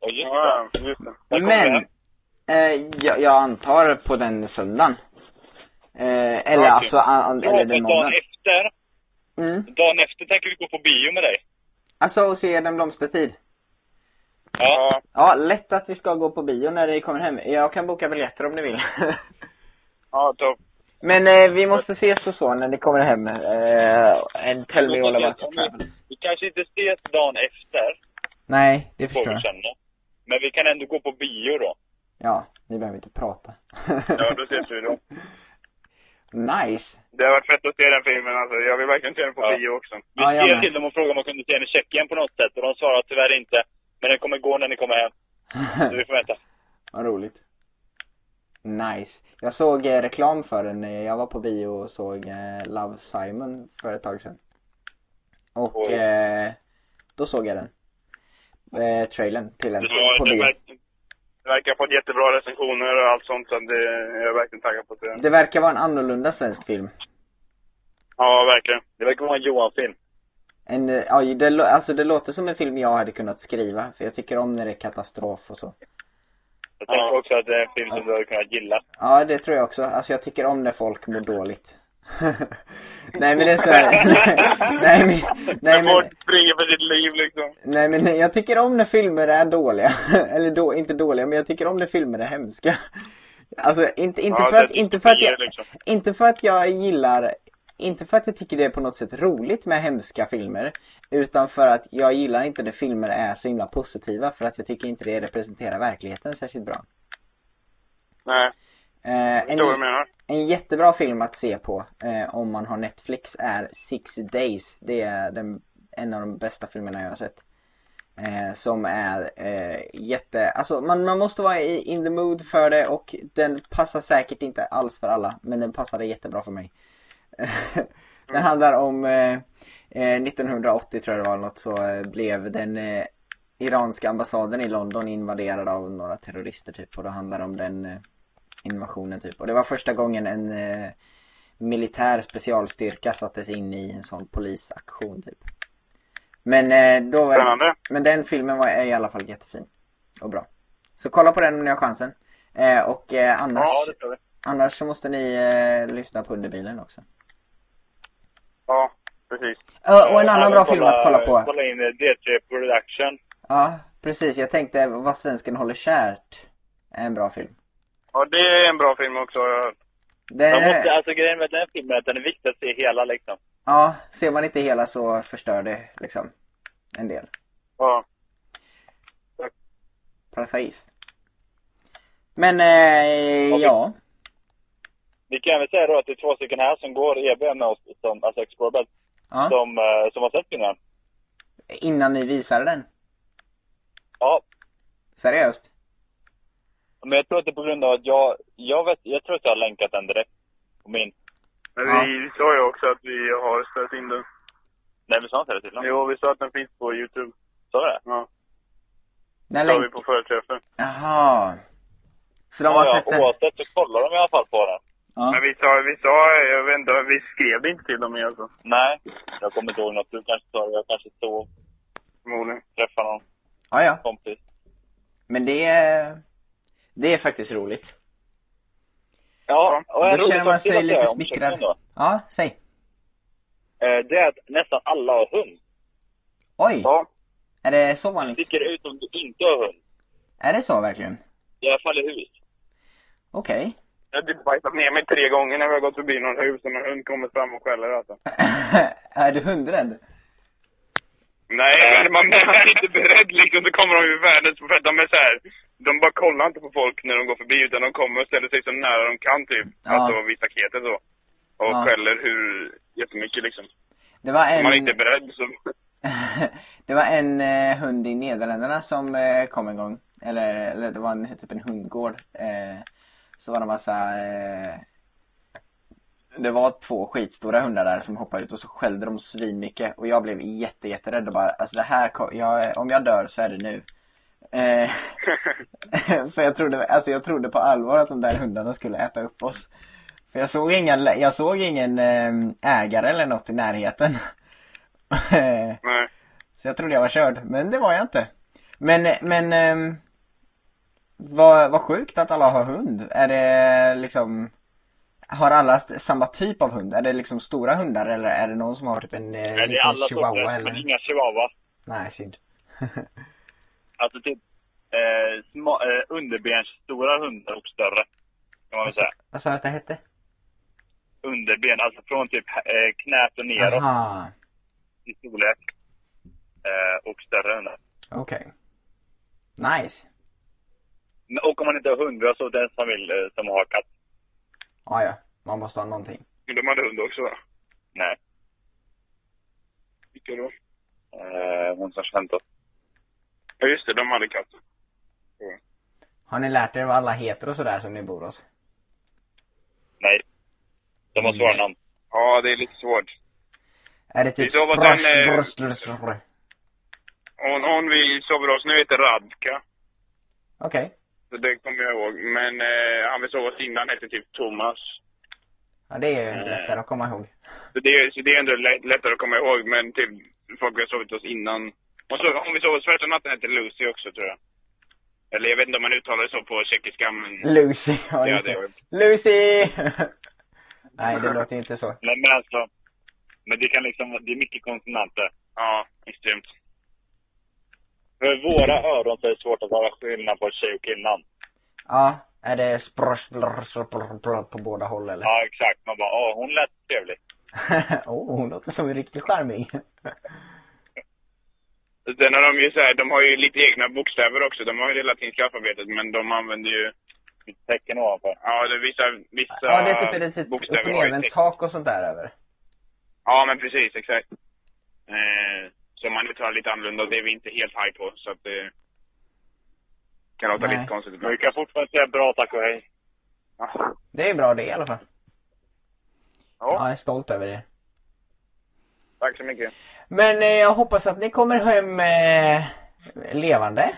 Speaker 6: Och just det.
Speaker 3: Ja, just det.
Speaker 6: När kommer
Speaker 2: Men!
Speaker 6: du
Speaker 2: Eh, jag, jag antar på den söndagen. Eh, eller
Speaker 6: okej.
Speaker 2: alltså, an, an,
Speaker 6: Jag
Speaker 2: eller den
Speaker 6: hoppas dagen
Speaker 2: måndagen.
Speaker 6: efter.
Speaker 2: Mm.
Speaker 6: Dagen efter tänker vi gå på bio med dig.
Speaker 2: Alltså, och så är den blomstertid.
Speaker 6: Ja.
Speaker 3: Ja,
Speaker 2: Ja, lätt att vi ska gå på bio när ni kommer hem. Jag kan boka biljetter om ni vill.
Speaker 3: ja topp.
Speaker 2: Men eh, vi måste ses och så när ni kommer hem. Eh, and tell me all about your travels.
Speaker 6: Vi kanske inte ses dagen efter.
Speaker 2: Nej, det
Speaker 6: Får
Speaker 2: förstår
Speaker 6: vi
Speaker 2: jag.
Speaker 6: känna. Men vi kan ändå gå på bio då.
Speaker 2: Ja, ni behöver inte prata.
Speaker 3: Ja, då ses vi då.
Speaker 2: nice.
Speaker 3: Det har varit fett att se den filmen alltså. Jag vill verkligen se den på
Speaker 6: Ja.
Speaker 3: bio också.
Speaker 6: Vi
Speaker 2: Ja, jag
Speaker 6: skrev
Speaker 2: med.
Speaker 6: till dem och frågade om de kunde se den i Tjeckien på något sätt. Och de svarade tyvärr inte. Men den kommer gå när ni kommer hem. Så vi får vänta.
Speaker 2: Vad roligt. Nice. Jag såg eh, reklam för den. eh, Jag var på bio och såg eh, Love Simon för ett tag sedan. Och
Speaker 6: Oj.
Speaker 2: eh, då såg jag den. Eh, trailern till den
Speaker 3: Ja,
Speaker 2: på
Speaker 3: det,
Speaker 2: bio.
Speaker 3: verkar, det verkar ha fått jättebra recensioner och allt sånt. Så det jag är verkligen taggad på att se den.
Speaker 2: Det verkar vara en annorlunda svensk film.
Speaker 3: Ja, verkligen.
Speaker 6: Det verkar vara en Johan-film.
Speaker 2: En, eh, ja, det, lå- alltså det låter som en film jag hade kunnat skriva. För jag tycker om när det är katastrof och så.
Speaker 6: Jag tänker också att det är en film som du hade kunnat gilla.
Speaker 2: Ja, det tror jag också. Alltså jag tycker om när folk mår dåligt. nej men det är så här. nej, men, nej, men,
Speaker 3: Folk springer för sitt liv liksom.
Speaker 2: nej men jag tycker om när filmer är dåliga. Eller då, inte dåliga, men jag tycker om när filmer är hemska. Alltså inte, inte,
Speaker 3: Ja,
Speaker 2: för, att,
Speaker 3: det
Speaker 2: inte, för, att
Speaker 3: tycker
Speaker 2: jag,
Speaker 3: jag liksom.
Speaker 2: inte för att jag gillar, inte för att jag tycker det är på något sätt roligt med hemska filmer. Utan för att jag gillar inte när filmer är så himla positiva. För att jag tycker inte det representerar verkligheten särskilt bra.
Speaker 3: Nej,
Speaker 2: Eh,
Speaker 3: jag
Speaker 2: en-
Speaker 3: förstår vad du menar.
Speaker 2: En jättebra film att se på eh, om man har Netflix är Six Days. Det är den, en av de bästa filmerna jag har sett. Eh, som är eh, jätte... Alltså man, man måste vara i, in the mood för det och den passar säkert inte alls för alla. Men den passade jättebra för mig. den handlar om... Eh, eh, 1980 tror jag det var eller något så eh, blev den eh, iranska ambassaden i London invaderad av några terrorister typ. Och då handlar det om den... Eh, invasionen typ. Och det var första gången en eh, militär specialstyrka sattes in i en sån polisaktion typ. Men, eh, då var,
Speaker 3: Spännande.
Speaker 2: men den filmen var är i alla fall jättefin och bra. Så kolla på den om ni har chansen. Eh, och eh, annars,
Speaker 6: Ja, det tror vi.
Speaker 2: annars så måste ni eh, lyssna på Underbilen också.
Speaker 3: Ja, precis.
Speaker 2: Ö, Eh, och en annan
Speaker 6: Alla
Speaker 2: bra film att kolla på.
Speaker 6: Kolla in eh, D3 Production.
Speaker 2: Ja, precis. Jag tänkte Vad svensken håller kärt är en bra film.
Speaker 3: Ja, det är en bra film också.
Speaker 2: Den,
Speaker 6: Man
Speaker 2: Eh.
Speaker 6: måste, alltså grejen med den här filmen är att den är viktig att se hela liksom.
Speaker 2: Ja, ser man inte hela så förstör det liksom en del.
Speaker 3: Ja.
Speaker 2: Precis. Men eh,
Speaker 6: Och vi-
Speaker 2: ja,
Speaker 6: Vi kan väl säga då att det är två stycken här som går EB med oss, som, alltså Explorabed,
Speaker 2: ja.
Speaker 6: som, eh, som har sett filmen.
Speaker 2: Innan ni visade den.
Speaker 6: Ja,
Speaker 2: Seriöst.
Speaker 6: men jag tror att det är på grund av att jag, jag vet, jag tror att jag har länkat den direkt. På min.
Speaker 3: Men
Speaker 2: Ja.
Speaker 3: vi sa ju också att vi har ställt in den.
Speaker 6: Nej, vi sa inte det till honom?
Speaker 3: Jo, vi sa att den finns på Youtube.
Speaker 6: Sa vi det?
Speaker 3: Ja,
Speaker 2: Den
Speaker 3: det sa vi
Speaker 2: länk...
Speaker 3: på förträffen.
Speaker 2: Jaha. Så de har
Speaker 6: Ja,
Speaker 2: sett
Speaker 6: ja,
Speaker 2: den?
Speaker 6: oavsett så kollar de i alla fall på den.
Speaker 2: Ja.
Speaker 3: Men vi sa, vi sa, jag vet inte, vi skrev det inte till dem igen alltså.
Speaker 6: Nej, jag kommer inte ihåg något. Du kanske sa det, jag kanske såg,
Speaker 3: Förmodligen.
Speaker 6: träffade någon
Speaker 2: ja, ja.
Speaker 6: kompis.
Speaker 2: Men det är... Det är faktiskt roligt.
Speaker 6: Ja, och en
Speaker 2: Då
Speaker 6: rolig
Speaker 2: känner man
Speaker 6: sak till
Speaker 2: sig
Speaker 6: att säga
Speaker 2: lite
Speaker 6: om
Speaker 2: smickrad.
Speaker 6: Tjeckien då.
Speaker 2: Ja, säg.
Speaker 6: Eh, Det är att nästan alla har hund.
Speaker 2: Oj,
Speaker 3: Ja.
Speaker 2: är det så
Speaker 6: Det
Speaker 2: vanligt?
Speaker 6: sticker ut om du inte har hund.
Speaker 2: Är det så verkligen?
Speaker 6: I alla fall i hus.
Speaker 2: Okej.
Speaker 3: Jag har typ bajsat ner mig tre gånger när vi har gått förbi någon hus och en hund kommer fram och skäller alltså.
Speaker 2: är du hundrädd?
Speaker 6: Nej, men man man är inte beredd liksom. Så kommer de ju världens på De är så här, de bara kollar inte på folk när de går förbi utan de kommer och ställer sig så nära de kan typ.
Speaker 2: Ja.
Speaker 6: Alltså vid staketet så. Och
Speaker 2: Ja.
Speaker 6: skäller hur jättemycket liksom.
Speaker 2: Det var
Speaker 6: Om
Speaker 2: en...
Speaker 6: man inte är beredd så...
Speaker 2: det var en eh, hund i Nederländerna som eh, kom en gång. Eller, eller det var en, typ en hundgård. Eh, så var det massa... Eh, det var två skitstora hundar där som hoppade ut och så skällde de svinmycket. Och jag blev jätte, jätterädd och bara, alltså det här, ko- jag, om jag dör så är det nu. Eh, för jag trodde, alltså jag trodde på allvar att de där hundarna skulle äta upp oss. För jag såg ingen, jag såg ingen eh, ägare eller något i närheten. Eh,
Speaker 6: Nej.
Speaker 2: Så jag trodde jag var körd, men det var jag inte. Men, men... ehm, vad, vad sjukt att alla har hund. Är det liksom... Har alla st- samma typ av hund? Är det liksom stora hundar eller är det någon som har typ en eh,
Speaker 3: Nej, det är
Speaker 2: liten
Speaker 3: alla
Speaker 2: chihuahua
Speaker 3: sorter, men
Speaker 2: eller?
Speaker 3: inga chihuahua.
Speaker 2: Nej, synd.
Speaker 3: Alltså typ eh, små, eh, underbensstora hundar och större. Kan man väl säga.
Speaker 2: Vad sa du att det hette?
Speaker 3: Underben, alltså från typ eh, knät och neråt
Speaker 2: Aha,
Speaker 3: i storlek. Eh, och större hundar.
Speaker 2: okej. Nice.
Speaker 3: Men- Och om man inte har hund, vi har så den som vill, eh, som har katt.
Speaker 2: Ah, ja, man måste ha någonting.
Speaker 6: Men de hade hund också va?
Speaker 3: Nej.
Speaker 6: Vilka då?
Speaker 3: Eh, hon som skämtar.
Speaker 6: Ja just det, de hade katt.
Speaker 2: Har ni lärt er vad alla heter och sådär som ni bor hos?
Speaker 3: Nej. De har svåra namn.
Speaker 6: Ja, det är lite svårt.
Speaker 2: Är det typ
Speaker 6: Det var den,
Speaker 2: spross,
Speaker 6: eh,
Speaker 2: bross, bross, bross?
Speaker 6: Hon, hon vi sover hos nu heter Radka.
Speaker 2: Okej.
Speaker 6: Så det kommer jag ihåg. Men eh, han vi sov hos innan hette typ Thomas.
Speaker 2: Ja, det är
Speaker 3: Eh.
Speaker 2: ju lättare att komma ihåg.
Speaker 6: Så det, så det är ändå lätt, lättare att komma ihåg. Men typ folk vi har sovit hos innan. Och så, om vi sov hos första natten hette Lucy också tror jag. Eller jag vet inte om man uttalar det så på tjeckiska men...
Speaker 2: Lucy, ja just
Speaker 6: det
Speaker 2: det.
Speaker 6: var-
Speaker 2: Lucy! Nej, det låter ju inte så.
Speaker 3: Nej men alltså. Men det kan liksom, det är mycket konsonanter.
Speaker 6: Ja, extremt.
Speaker 3: För våra öron så är det svårt att höra skillnad på tjej och killnamn.
Speaker 2: Ja, är det spross, blrs, blr, blr på båda håll eller?
Speaker 3: Ja exakt, man bara åh hon lät trevlig.
Speaker 2: oh, hon låter som en riktig charming.
Speaker 6: Sen har de ju så här, de har ju lite egna bokstäver också. De har ju det latinska alfabetet men de använder ju...
Speaker 3: Ett tecken ovanför.
Speaker 6: Ja, det är vissa, vissa
Speaker 2: Ja, det är typ, är det typ upp
Speaker 6: bokstäver
Speaker 2: och ner
Speaker 6: har ju
Speaker 2: med en
Speaker 6: tecken.
Speaker 2: tak och sånt där över.
Speaker 6: Ja, men precis, exakt. Eh, så man uttalar lite annorlunda och det är vi inte helt haj på. Så att det kan låta
Speaker 2: Nej.
Speaker 6: lite konstigt
Speaker 3: Men vi
Speaker 6: ibland.
Speaker 3: kan fortfarande säga bra tack och hej.
Speaker 6: Ja.
Speaker 2: Det är bra det i alla fall.
Speaker 6: Ja.
Speaker 2: Jag är stolt över det.
Speaker 6: Tack så mycket.
Speaker 2: Men eh, jag hoppas att ni kommer hem eh, levande.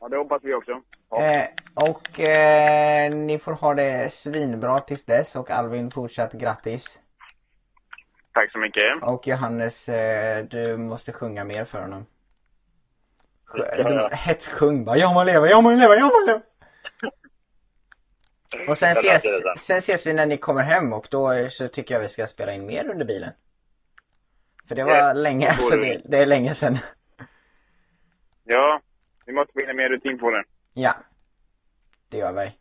Speaker 6: Ja, det hoppas vi också.
Speaker 2: Eh, och eh, ni får ha det svinbra tills dess och Alvin fortsatt grattis.
Speaker 6: Tack så mycket.
Speaker 2: Och Johannes, eh, du måste sjunga mer för honom. Sj-
Speaker 3: Det ska jag
Speaker 2: Du
Speaker 3: göra.
Speaker 2: hetssjung bara, jag må leva, jag må leva, jag må leva. Och sen
Speaker 3: Jag
Speaker 2: ses,
Speaker 3: löser det sen.
Speaker 2: sen ses vi när ni kommer hem och då eh, så tycker jag vi ska spela in mer under bilen. För det var
Speaker 6: Ja,
Speaker 2: länge,
Speaker 6: går
Speaker 2: alltså
Speaker 6: det.
Speaker 2: det, det är länge sedan.
Speaker 6: Ja, vi måste få in mer rutin på det.
Speaker 2: Ja. Det gör vi.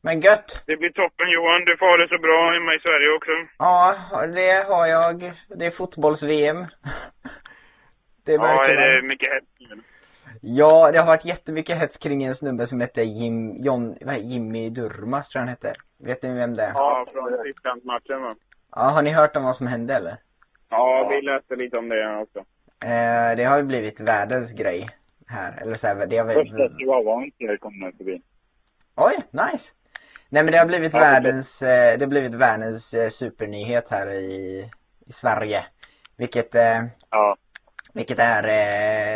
Speaker 2: Men gött!
Speaker 6: Det blir toppen Johan. Du får ha det så bra hemma i Sverige också.
Speaker 2: Ja, det har jag. Det är fotbolls-VM. Det
Speaker 6: Ja,
Speaker 2: märker
Speaker 6: är
Speaker 2: man.
Speaker 6: det mycket hett nu?
Speaker 2: Ja, det har varit jättemycket hets kring en snubbe som hette Jim, John, vad heter- Jimmy Durmas tror jag han hette. Vet ni vem det är?
Speaker 6: Ja, från Tysklandsmatchen va?
Speaker 2: Ja, har ni hört om vad som hände eller?
Speaker 6: Ja, vi läste lite om det också.
Speaker 2: Eh, det har ju blivit världens grej här. Eller så här, det har väl...
Speaker 3: Första chihuahuan inte kommer förbi.
Speaker 2: Oj, nice! Nej men det har blivit
Speaker 3: Ja, det-
Speaker 2: världens, eh, det har blivit världens eh, supernyhet här i, i Sverige. Vilket, eh,
Speaker 3: Ja.
Speaker 2: vilket är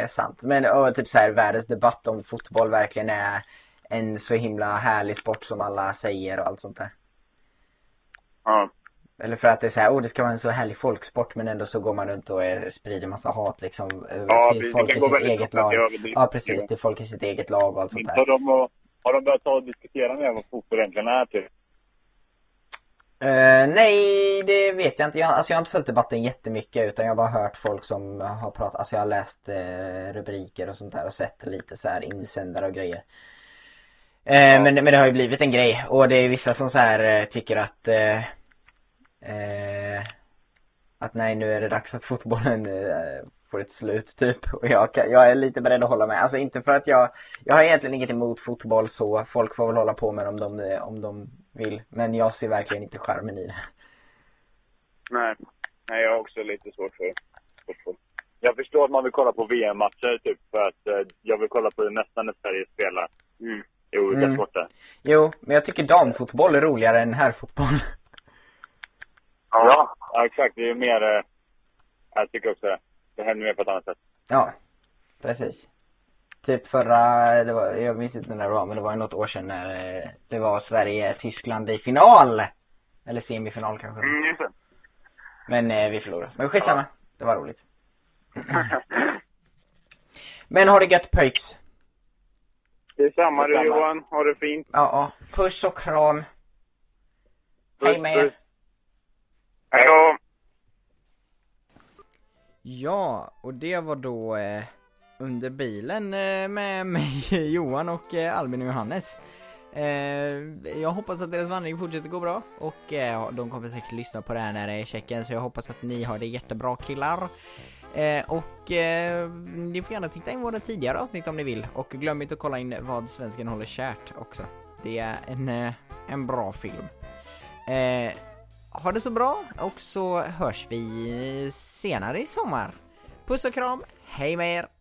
Speaker 2: eh, sant. Men och, typ så här världens debatt om fotboll verkligen är en så himla härlig sport som alla säger och allt sånt där.
Speaker 6: Ja.
Speaker 2: Eller för att det är så här, oh, det ska vara en så härlig folksport men ändå så går man runt och eh, sprider massa hat liksom eh,
Speaker 6: Ja,
Speaker 2: till
Speaker 6: precis.
Speaker 2: folk
Speaker 6: Det
Speaker 2: i
Speaker 6: kan gå
Speaker 2: sitt
Speaker 6: väldigt
Speaker 2: eget
Speaker 6: fort att
Speaker 2: lag.
Speaker 6: det överdrivs.
Speaker 2: Ja precis, till folk i sitt eget lag och allt sånt
Speaker 3: Har
Speaker 2: där.
Speaker 3: de, har de börjat ta och diskutera med vad fotboll egentligen är typ?
Speaker 2: Eh, nej, det vet jag inte. Jag, alltså, jag har inte följt debatten jättemycket utan jag har bara hört folk som har pratat, alltså jag har läst eh, rubriker och sånt där och sett lite så här insändare och grejer. Eh, men, men det har ju blivit en grej och det är vissa som så här eh, tycker att eh, eh,
Speaker 7: Att nej, nu är det dags att fotbollen eh, får ett slut typ. Och jag, kan- jag är lite beredd att hålla med. Alltså inte för att jag, jag har egentligen inget emot fotboll så. Folk får väl hålla på med det om de, eh, om de vill. Men jag ser verkligen inte charmen i det.
Speaker 6: Nej. Nej, jag har också lite svårt för fotboll.
Speaker 3: Jag förstår att man vill kolla på VM-matcher typ för att eh, jag vill kolla på det nästan när Sverige spelar
Speaker 6: Mm.
Speaker 3: i olika
Speaker 7: Mm.
Speaker 3: sporter.
Speaker 7: Jo, men jag tycker damfotboll är roligare än herrfotboll.
Speaker 3: Ja. ja, exakt. Det är ju mer... eh, Jag tycker också det. Det händer mer på ett annat sätt.
Speaker 7: Ja, precis. Typ förra, det var, jag minns inte när det var, men det var ju något år sedan när eh, det var Sverige-Tyskland i final! Eller semifinal kanske.
Speaker 6: Mm, just det.
Speaker 7: Men eh, vi förlorade. Men skitsamma, det var roligt. men har det gött pöjks!
Speaker 6: Det är samma du
Speaker 3: Detsamma.
Speaker 6: Johan. Ha det fint.
Speaker 7: Ja, ja. Puss och kram. Hej med er.
Speaker 6: Hej då.
Speaker 2: Ja, och det var då eh, under bilen eh, med mig, Johan och eh, Albin och Johannes. Eh, jag hoppas att deras vandring fortsätter gå bra och eh, de kommer säkert lyssna på det här när det är Tjeckien så jag hoppas att ni har det jättebra killar. Eh, och eh, ni får gärna titta in våra tidigare avsnitt om ni vill och glöm inte att kolla in vad svensken håller kärt också. Det är en, eh, en bra film. Eh, ha det så bra och så hörs vi senare i sommar. Puss och kram, hej med er!